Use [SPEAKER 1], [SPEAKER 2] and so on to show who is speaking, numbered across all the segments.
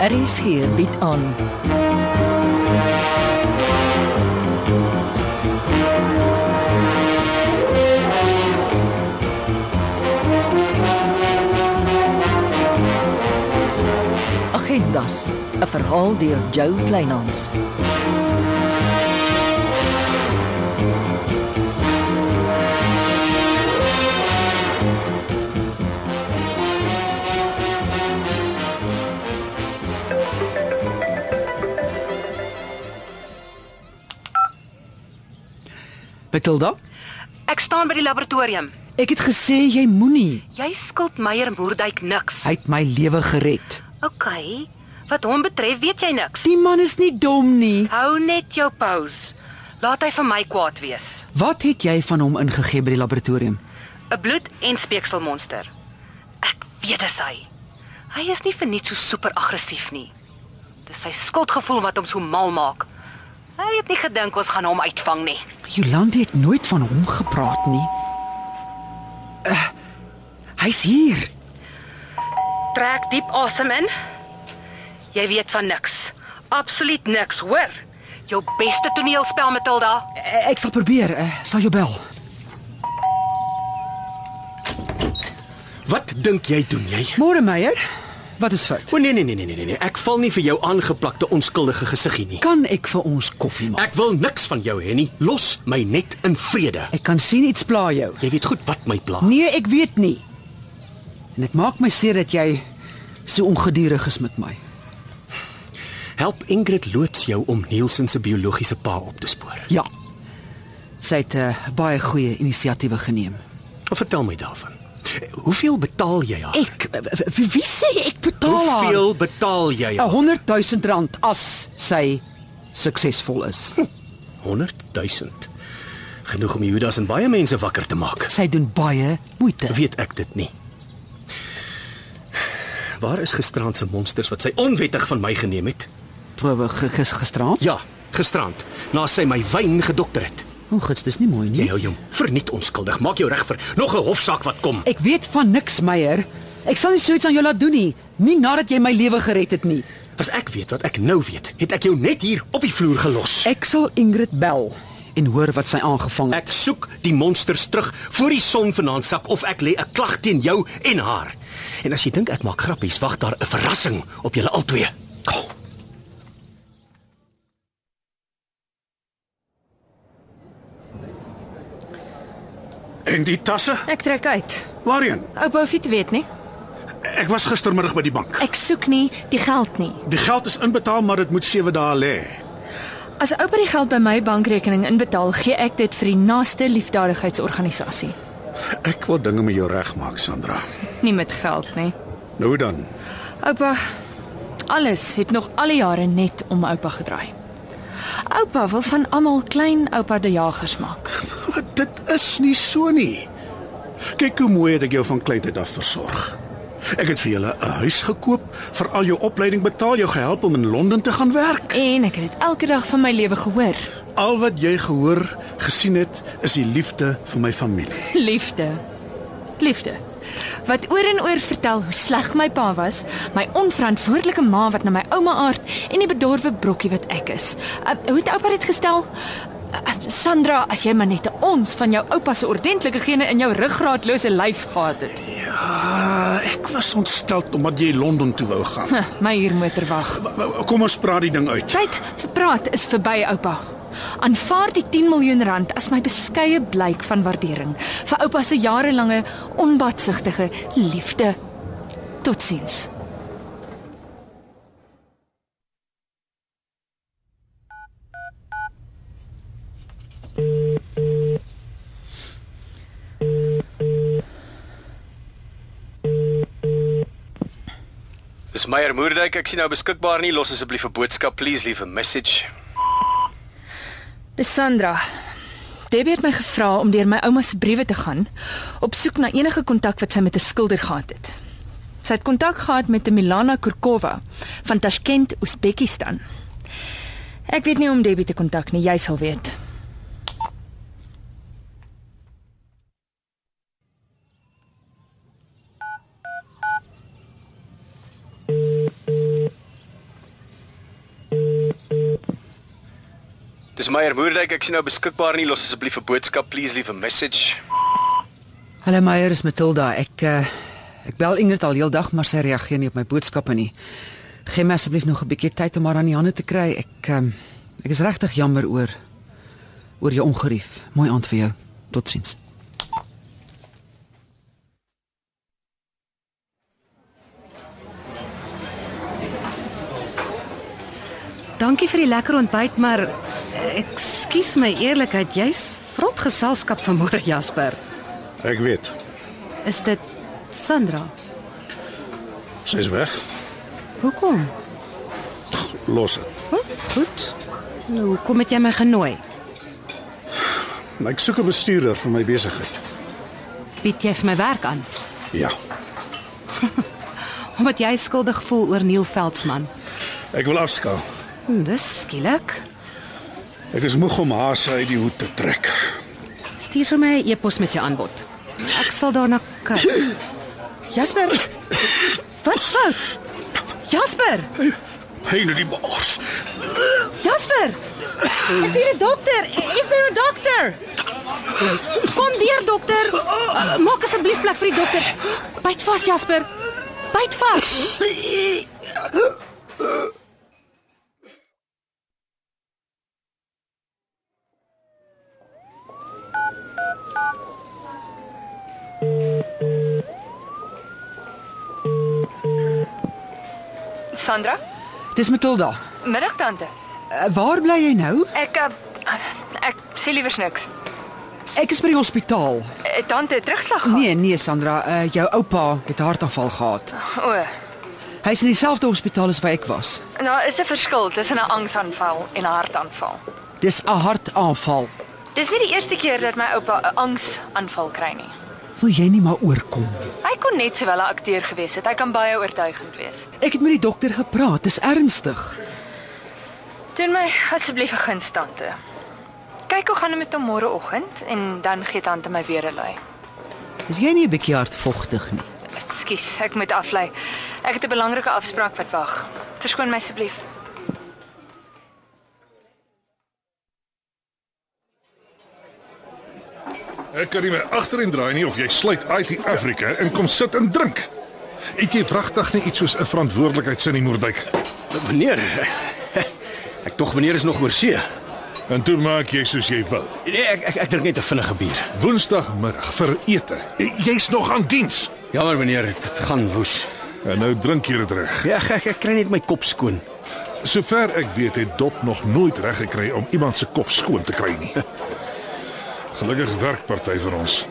[SPEAKER 1] RSG Er bied aan. Agendas, 'n verhaal deur Jo Kleinhans.
[SPEAKER 2] Matilda,
[SPEAKER 3] Ek staan by die laboratorium.
[SPEAKER 2] ek het gesê jy moenie.
[SPEAKER 3] Jy skuld Meyer Moerdijk niks.
[SPEAKER 2] Hy het my lewe gered.
[SPEAKER 3] OK. Wat hom betref, weet jy niks.
[SPEAKER 2] Die man is nie dom nie.
[SPEAKER 3] Hou net jou pause. Laat hy vir my kwaad wees.
[SPEAKER 2] Wat het jy van hom ingegee by die laboratorium?
[SPEAKER 3] 'n Bloed- en speekselmonster. Ek weet dis hy. Hy is nie vir niks so super aggressief nie. Dis sy skuldgevoel wat hom so mal maak. Hy het nie gedink ons gaan hom uitvang nie.
[SPEAKER 2] Jolande het nooit van hom gepraat nie. Uh, hy's hier.
[SPEAKER 3] Trek diep asem in. Jy weet van niks. Absoluut niks, hoor? Jou beste toneelspel, Matilda.
[SPEAKER 2] E- Ek sal probeer. Uh, sal jou bel.
[SPEAKER 4] Wat dink jy doen jy?
[SPEAKER 2] Môre Meyer. Wat is fout?
[SPEAKER 4] O nee nee nee nee nee nee, ek val nie vir jou aangeplakte onskuldige gesiggie nie.
[SPEAKER 2] Kan ek vir ons koffie maak?
[SPEAKER 4] Ek wil niks van jou hê nie. Los my net in vrede.
[SPEAKER 2] Ek kan sien iets pla jou.
[SPEAKER 4] Jy weet goed wat my pla.
[SPEAKER 2] Nee, ek weet nie. En dit maak my seer dat jy so ongeduldig is met my.
[SPEAKER 4] Help Ingrid loods jou om Nielsen se biologiese pa op te spoor.
[SPEAKER 2] Ja. Sy het uh, baie goeie inisiatiewe geneem.
[SPEAKER 4] Vertel my daarvan. Hoeveel betaal jy haar?
[SPEAKER 2] Ek wie, wie sê ek betaal
[SPEAKER 4] Hoeveel betaal jy haar?
[SPEAKER 2] 100 000 rand as sy suksesvol is.
[SPEAKER 4] 100 000. Genoeg om Judas en baie mense wakker te maak.
[SPEAKER 2] Sy doen baie moeite.
[SPEAKER 4] Weet ek dit nie. Waar is gisterand se monsters wat sy onwettig van my geneem het?
[SPEAKER 2] Probe gis gisterand.
[SPEAKER 4] Ja, gisterand, na sy my wyn gedokter het.
[SPEAKER 2] O, gits, dis nie mooi
[SPEAKER 4] Jy
[SPEAKER 2] nie.
[SPEAKER 4] hou jou verniet onskuldig. Maak jou reg vir nog 'n hofsaak wat kom.
[SPEAKER 2] Ek weet van niks, Meyer. Ek sal nie so iets aan jou laat doen nie, nie nadat jy my lewe gered het nie.
[SPEAKER 4] As ek weet wat ek nou weet, het ek jou net hier op die vloer gelos.
[SPEAKER 2] Ek sal Ingrid bel en hoor wat sy aangevang het.
[SPEAKER 4] Ek soek die monsters terug voor die son vanaand sak of ek lê 'n klag teen jou en haar. En as jy dink ek maak grappies, wag daar 'n verrassing op julle albei. Kom.
[SPEAKER 5] En die tasse?
[SPEAKER 6] Ek trek uit.
[SPEAKER 5] Waarheen?
[SPEAKER 6] Oupa hoef nie te weet nie.
[SPEAKER 5] Ek was gistermiddag by die bank.
[SPEAKER 6] Ek soek nie die geld nie.
[SPEAKER 5] Die geld is inbetaal, maar dit moet 7 dae lê.
[SPEAKER 6] As oupa die geld by my bankrekening inbetaal, gee ek dit vir die naaste liefdadigheidsorganisasie.
[SPEAKER 5] Ek wil dinge met jou regmaak, Sandra.
[SPEAKER 6] Nie met geld nie.
[SPEAKER 5] Nou dan.
[SPEAKER 6] Oupa, alles het nog al die jare net om oupa gedraai. Oupa wil van almal klein oupa die jagers maak.
[SPEAKER 5] Wat dit is nie so nie. Kyk hoe mooi het ek jou van kleintyd af versorg. Ek het vir julle 'n huis gekoop, vir al jou opleiding betaal, jou gehelp om in Londen te gaan werk.
[SPEAKER 6] En ek het dit elke dag van my lewe gehoor.
[SPEAKER 5] Al wat jy gehoor, gesien het, is die liefde vir my familie.
[SPEAKER 6] Liefde. Liefde. Wat oor en oor vertel hoe sleg my pa was, my onverantwoordelike ma wat na my ouma aard en die bedorwe brokkie wat ek is. Uh, hoe het oupa dit gestel? Uh, Sandra, as jy maar net 'n ons van jou oupa se ordentlike gene in jou ruggraatlose lyf gehad het.
[SPEAKER 5] Ja, ek was ontstel omdat jy Londen toe wou gaan.
[SPEAKER 6] Huh, My huurmotor wag.
[SPEAKER 5] Wa- wa- Kom ons praat die ding uit.
[SPEAKER 6] Tyd vir praat is verby, oupa. Aanvaar die 10 miljoen rand as my beskeie blyk van waardering vir oupa se jarelange onbaatsigtige liefde. Totsiens.
[SPEAKER 7] Dis Meyer Moerdijk, ek sien nou beskikbaar nie. Los asseblief 'n boodskap, please leave a message.
[SPEAKER 6] Dis Sandra. Debbie het my gevra om deur my ouma se briewe te gaan op soek na enige kontak wat sy met 'n skilder gehad het. Sy het kontak gehad met 'n Milana Kurkova van Tashkent, Oezbekistan. Ek weet nie hoe om Debbie te kontak nie, jy sal weet.
[SPEAKER 7] Dis Meyer Moerdijk, ek sien nou beskikbaar nie. Los asseblief 'n boodskap, please leave a message.
[SPEAKER 2] Hallo Meyer, is Matilda. Ek uh, ek bel Ingrid al heeldag, maar sy reageer nie op my boodskappe nie. Gee my asseblief nog 'n bietjie tyd om haar aan die hande te kry. Ek um, ek is regtig jammer oor oor jou ongerief. Mooi aand vir jou. Totsiens.
[SPEAKER 3] Dankie vir die lekker ontbyt, maar ekskuus my eerlikheid, jy's vrot geselskap vanmôre Jasper.
[SPEAKER 5] Ek weet.
[SPEAKER 3] Is dit Sandra?
[SPEAKER 5] Sy's weg.
[SPEAKER 3] Hoekom?
[SPEAKER 5] Los dit.
[SPEAKER 3] Huh? Goed. Nou, hoekom het jy my genooi?
[SPEAKER 5] Ek soek 'n bestuurder vir my besigheid.
[SPEAKER 3] Bied jy vir my werk aan
[SPEAKER 5] Ja.
[SPEAKER 3] omdat jy skuldig voel oor Neil Veldsmann?
[SPEAKER 5] Ek wil afskaal.
[SPEAKER 3] Hm, dis skielik.
[SPEAKER 5] Ek is moeg om haar sy uit die hoed te trek.
[SPEAKER 3] Stuur vir my 'n e-pos met jou aanbod. Ek sal daarna kyk. Jasper, wat's fout? Jasper,
[SPEAKER 5] Hey, nou die bors.
[SPEAKER 3] Jasper. Is hier 'n dokter? Is daar 'n dokter? Kom hier dokter. Uh, Maak asseblief plek vir die dokter. Byt vas Jasper. Byt vas.
[SPEAKER 8] Sandra,
[SPEAKER 2] Dis Matilda.
[SPEAKER 8] middag tante.
[SPEAKER 2] Uh, waar bly jy nou?
[SPEAKER 8] Ek eh, ek sê liewers niks.
[SPEAKER 2] Ek is by die hospitaal.
[SPEAKER 8] Eh, Tante het terugslag gehad.
[SPEAKER 2] Nee, nee Sandra, uh, jou oupa het 'n hartaanval gehad.
[SPEAKER 8] O,
[SPEAKER 2] Hy's in dieselfde hospitaal as waar ek was.
[SPEAKER 8] daar nou, is 'n verskil tussen 'n angsaanval en 'n hartaanval.
[SPEAKER 2] Dis 'n hartaanval.
[SPEAKER 8] Dis nie die eerste keer dat my oupa 'n angsaanval kry nie.
[SPEAKER 2] Wil jy nie maar oorkom?
[SPEAKER 8] Hy kon net sowel 'n akteur gewees het. Hy kan baie oortuigend wees.
[SPEAKER 2] Ek het met die dokter gepraat. Dis ernstig.
[SPEAKER 8] Doen my asseblief 'n guns tante. Kyk hoe gaan dit met hom môreoggend en dan gee tante my weer 'n lui.
[SPEAKER 2] Is jy nie 'n bietjie hardvogtig nie?
[SPEAKER 8] Ekskuus, ek moet aflei. Ek het 'n belangrike afspraak wat wag. Verskoon my asseblief.
[SPEAKER 9] Ek kan nie my agterin draai nie of jy sluit IT Africa en kom sit en drink. Eet jy pragtig nie iets soos 'n verantwoordelikheidsin nie, Moerdijk.
[SPEAKER 4] Meneer, ek tog meneer is nog oor see.
[SPEAKER 9] En toe maak jy soos jy wil.
[SPEAKER 4] Nee, ek ek, ek drink net 'n vinnige bier.
[SPEAKER 9] Woensdagmiddag vir ete. J- Jy's nog aan diens.
[SPEAKER 4] Jammer meneer, dit gaan woes.
[SPEAKER 9] En nou drink jy dit reg.
[SPEAKER 4] Ja, ek, ek, ek kry net my kop skoon.
[SPEAKER 9] Sover ek weet het Dop nog nooit reg gekry om iemand se kop skoon te kry nie. Gelukkig werk party van ons.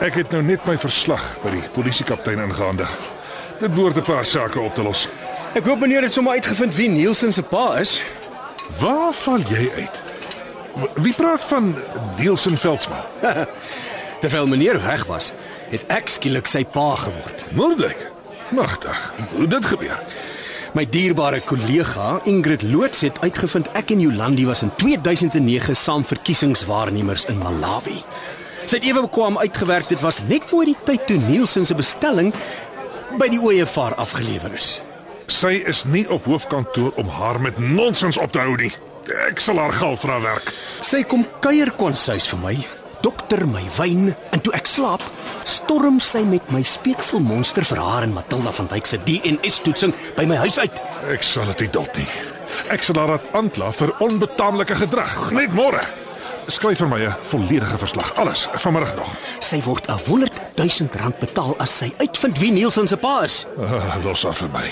[SPEAKER 9] Ek het nou net my verslag by die polisiekaptein ingehandig. Dit behoort 'n paar sake op te los.
[SPEAKER 4] Ek hoop meneer het sommer uitgevind wie Nielsen se pa is.
[SPEAKER 9] Waar val jy uit? Wie praat van Deelsen Veldsmann?
[SPEAKER 4] Terwyl meneer weg was, het ek skielik sy pa geword.
[SPEAKER 9] Moordek. Magtig. Hoe dit gebeur?
[SPEAKER 4] My dierbare kollega Ingrid Loots het uitgevind ek en Jolandi was in 2009 saam verkiesingswaarnemers in Malawi. Sy het ewe bekwam uitgewerk dit was net voor die tyd toe Nielsen se bestelling by die OEFAR afgelewer is.
[SPEAKER 9] Sy is nie op hoofkantoor om haar met nonsens op te hou nie. Ek sal haar geld vra werk.
[SPEAKER 4] Sy kom kuier konsuis vir my, dokter my wyn en toe ek slaap, storm sy met my speekselmonster vir haar en Matilda van Wyk se DNS-toetsing by my huis uit.
[SPEAKER 9] Ek sal dit nie dop nie. Ek sal haar laat aankla vir onbetaamlike gedrag. Net môre. Skryf vir my 'n volledige verslag. Alles vanmiddag nog.
[SPEAKER 4] Sy word 'n 100 000 rand betaal as sy uitvind wie Nielsen se pa is.
[SPEAKER 9] Uh, los af vir my.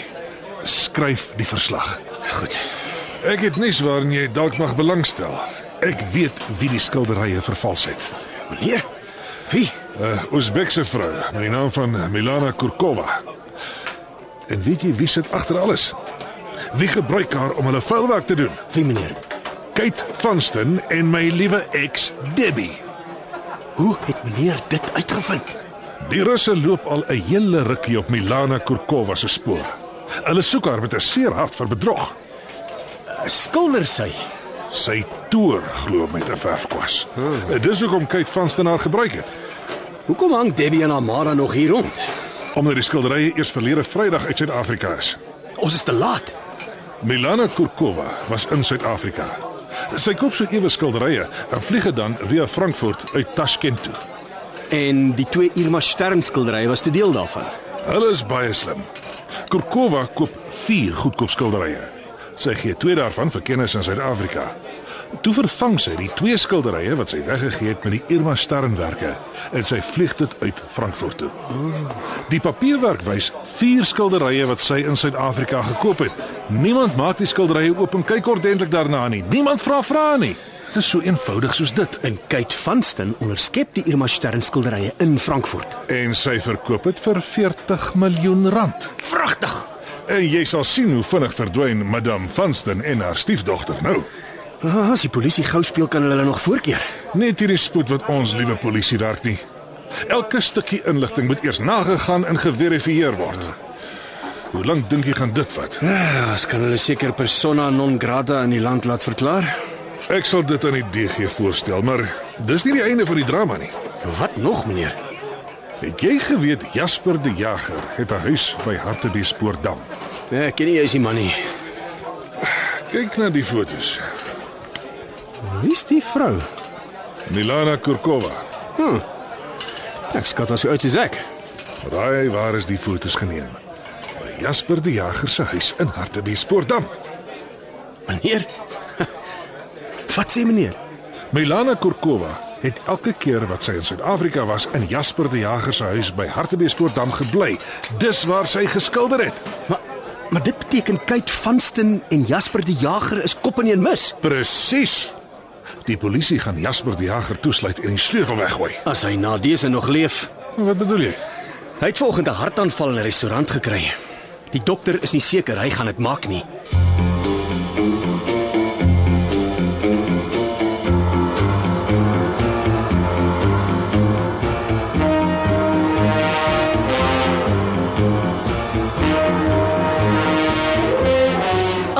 [SPEAKER 9] Skryf die verslag.
[SPEAKER 4] Goed.
[SPEAKER 9] Ek het nuus waarin jy dalk mag belangstel. Ek weet wie die skilderye vervals het.
[SPEAKER 4] Meneer, wie?
[SPEAKER 9] 'n Oosbekse vrou met die naam van Milana Kurkova. En weet jy wie sit agter alles? Wie gebruik haar om hulle vuilwerk te doen?
[SPEAKER 4] Wie meneer?
[SPEAKER 9] Kate Vanston en my liewe eks Debbie.
[SPEAKER 4] Hoe het meneer dit uitgevind?
[SPEAKER 9] Die Russe loop al 'n hele rukkie op Milana Kurkova se spoor. Hulle soek haar met 'n seer hart vir bedrog.
[SPEAKER 4] Skilder sy.
[SPEAKER 9] Sy toer glo met 'n verfkwas. Hmm. Dis hoekom Kate Vanston haar gebruik het.
[SPEAKER 4] Hoekom hang Debbie en Amara nog hier rond?
[SPEAKER 9] Omdat die skilderye eers verlede Vrydag uit Suid-Afrika is.
[SPEAKER 4] Ons is te laat.
[SPEAKER 9] Milana Kurkova was in Suid-Afrika. Sy koop so ewe skilderye en vlieg dit dan via Frankfurt uit Taschkent toe.
[SPEAKER 4] En die twee Irma Stern skilderye was te deel daarvan.
[SPEAKER 9] Hulle is baie slim. Kurkova koop 4 goedkoop skilderye. Sy gee twee daarvan vir kennis in Suid-Afrika. Toe vervang sy die twee skilderye wat sy weggegee het met die Irma Sternwerke en sy vlieg dit uit Frankfurt toe. Die papierwerk wys 4 skilderye wat sy in Suid-Afrika gekoop het. Niemand maak die skilderye oop en kyk ordentlik daarna nie. Niemand vra vrae nie. Dit is so eenvoudig soos dit.
[SPEAKER 4] En Kate Vanston onderskep die Irma Stern skilderye in Frankfurt.
[SPEAKER 9] En sy verkoop dit vir 40 miljoen rand.
[SPEAKER 4] Pragtig.
[SPEAKER 9] En jy sal sien hoe vinnig verdwyn Madame Vanston en haar stiefdogter nou.
[SPEAKER 4] Ah, as die polisie gou speel kan hulle hulle nog voorkeer.
[SPEAKER 9] Net hierdie spoed wat ons liewe polisie werk nie. Elke stukkie inligting moet eers nagegaan en geverifieer word. Hoe lank dink jy gaan dit vat?
[SPEAKER 4] Ja, as kan hulle seker persona non grata in die land laat verklaar.
[SPEAKER 9] Ek sal dit aan die DG voorstel, maar dis nie die einde van die drama nie.
[SPEAKER 4] Nou, Wat nog, meneer?
[SPEAKER 9] Het jy geweet Jasper die Jager het 'n huis by Hartbeespoortdam?
[SPEAKER 4] Ja, ek ken nie jy's die man nie.
[SPEAKER 9] Kyk na die fotos.
[SPEAKER 4] Wie's die vrou?
[SPEAKER 9] Milana Kurkova.
[SPEAKER 4] Ek skat as hoe oud sy's ek.
[SPEAKER 9] Raai waar is die fotos geneem? By Jasper die Jager se huis in Hartbeespoortdam.
[SPEAKER 4] Meneer? Wat sê meneer?
[SPEAKER 9] Milana Kurkova het elke keer wat sy in Suid-Afrika was in Jasper die Jager se huis by Hartbeespoortdam gebly. Dis waar sy geskilder het.
[SPEAKER 4] Maar maar dit beteken Kate Vanston en Jasper die Jager is kop in een mis.
[SPEAKER 9] Presies. Die polisie gaan Jasper die Jager toesluit en die sleutel weggooi.
[SPEAKER 4] As hy na dese nog leef.
[SPEAKER 9] Wat bedoel jy?
[SPEAKER 4] Hy het vanoggend 'n hartaanval in 'n restaurant gekry. Die dokter is nie seker hy gaan dit maak nie.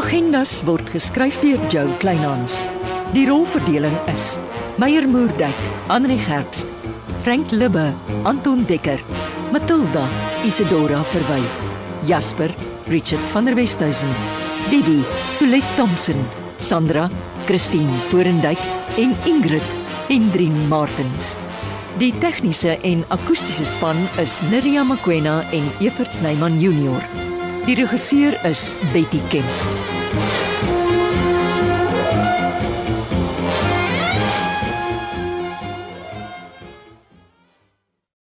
[SPEAKER 1] Agendas word geskryf deur Jo Kleinhans. Die rolverdeling is: Meyer Moerdijk, Anri Gerbst, Frank Libbe, Anton Dekker, Matilda Isidora Verwy, Jasper Richard van der Westhuizen, Didi Solet Thompson, Sandra Christine Forendyk en Ingrid Hendrin Martens. Die tegniese en akoestiese span is Neriya Mkwena en Evert Snyman Junior. Die regisseur is Betty Kemp.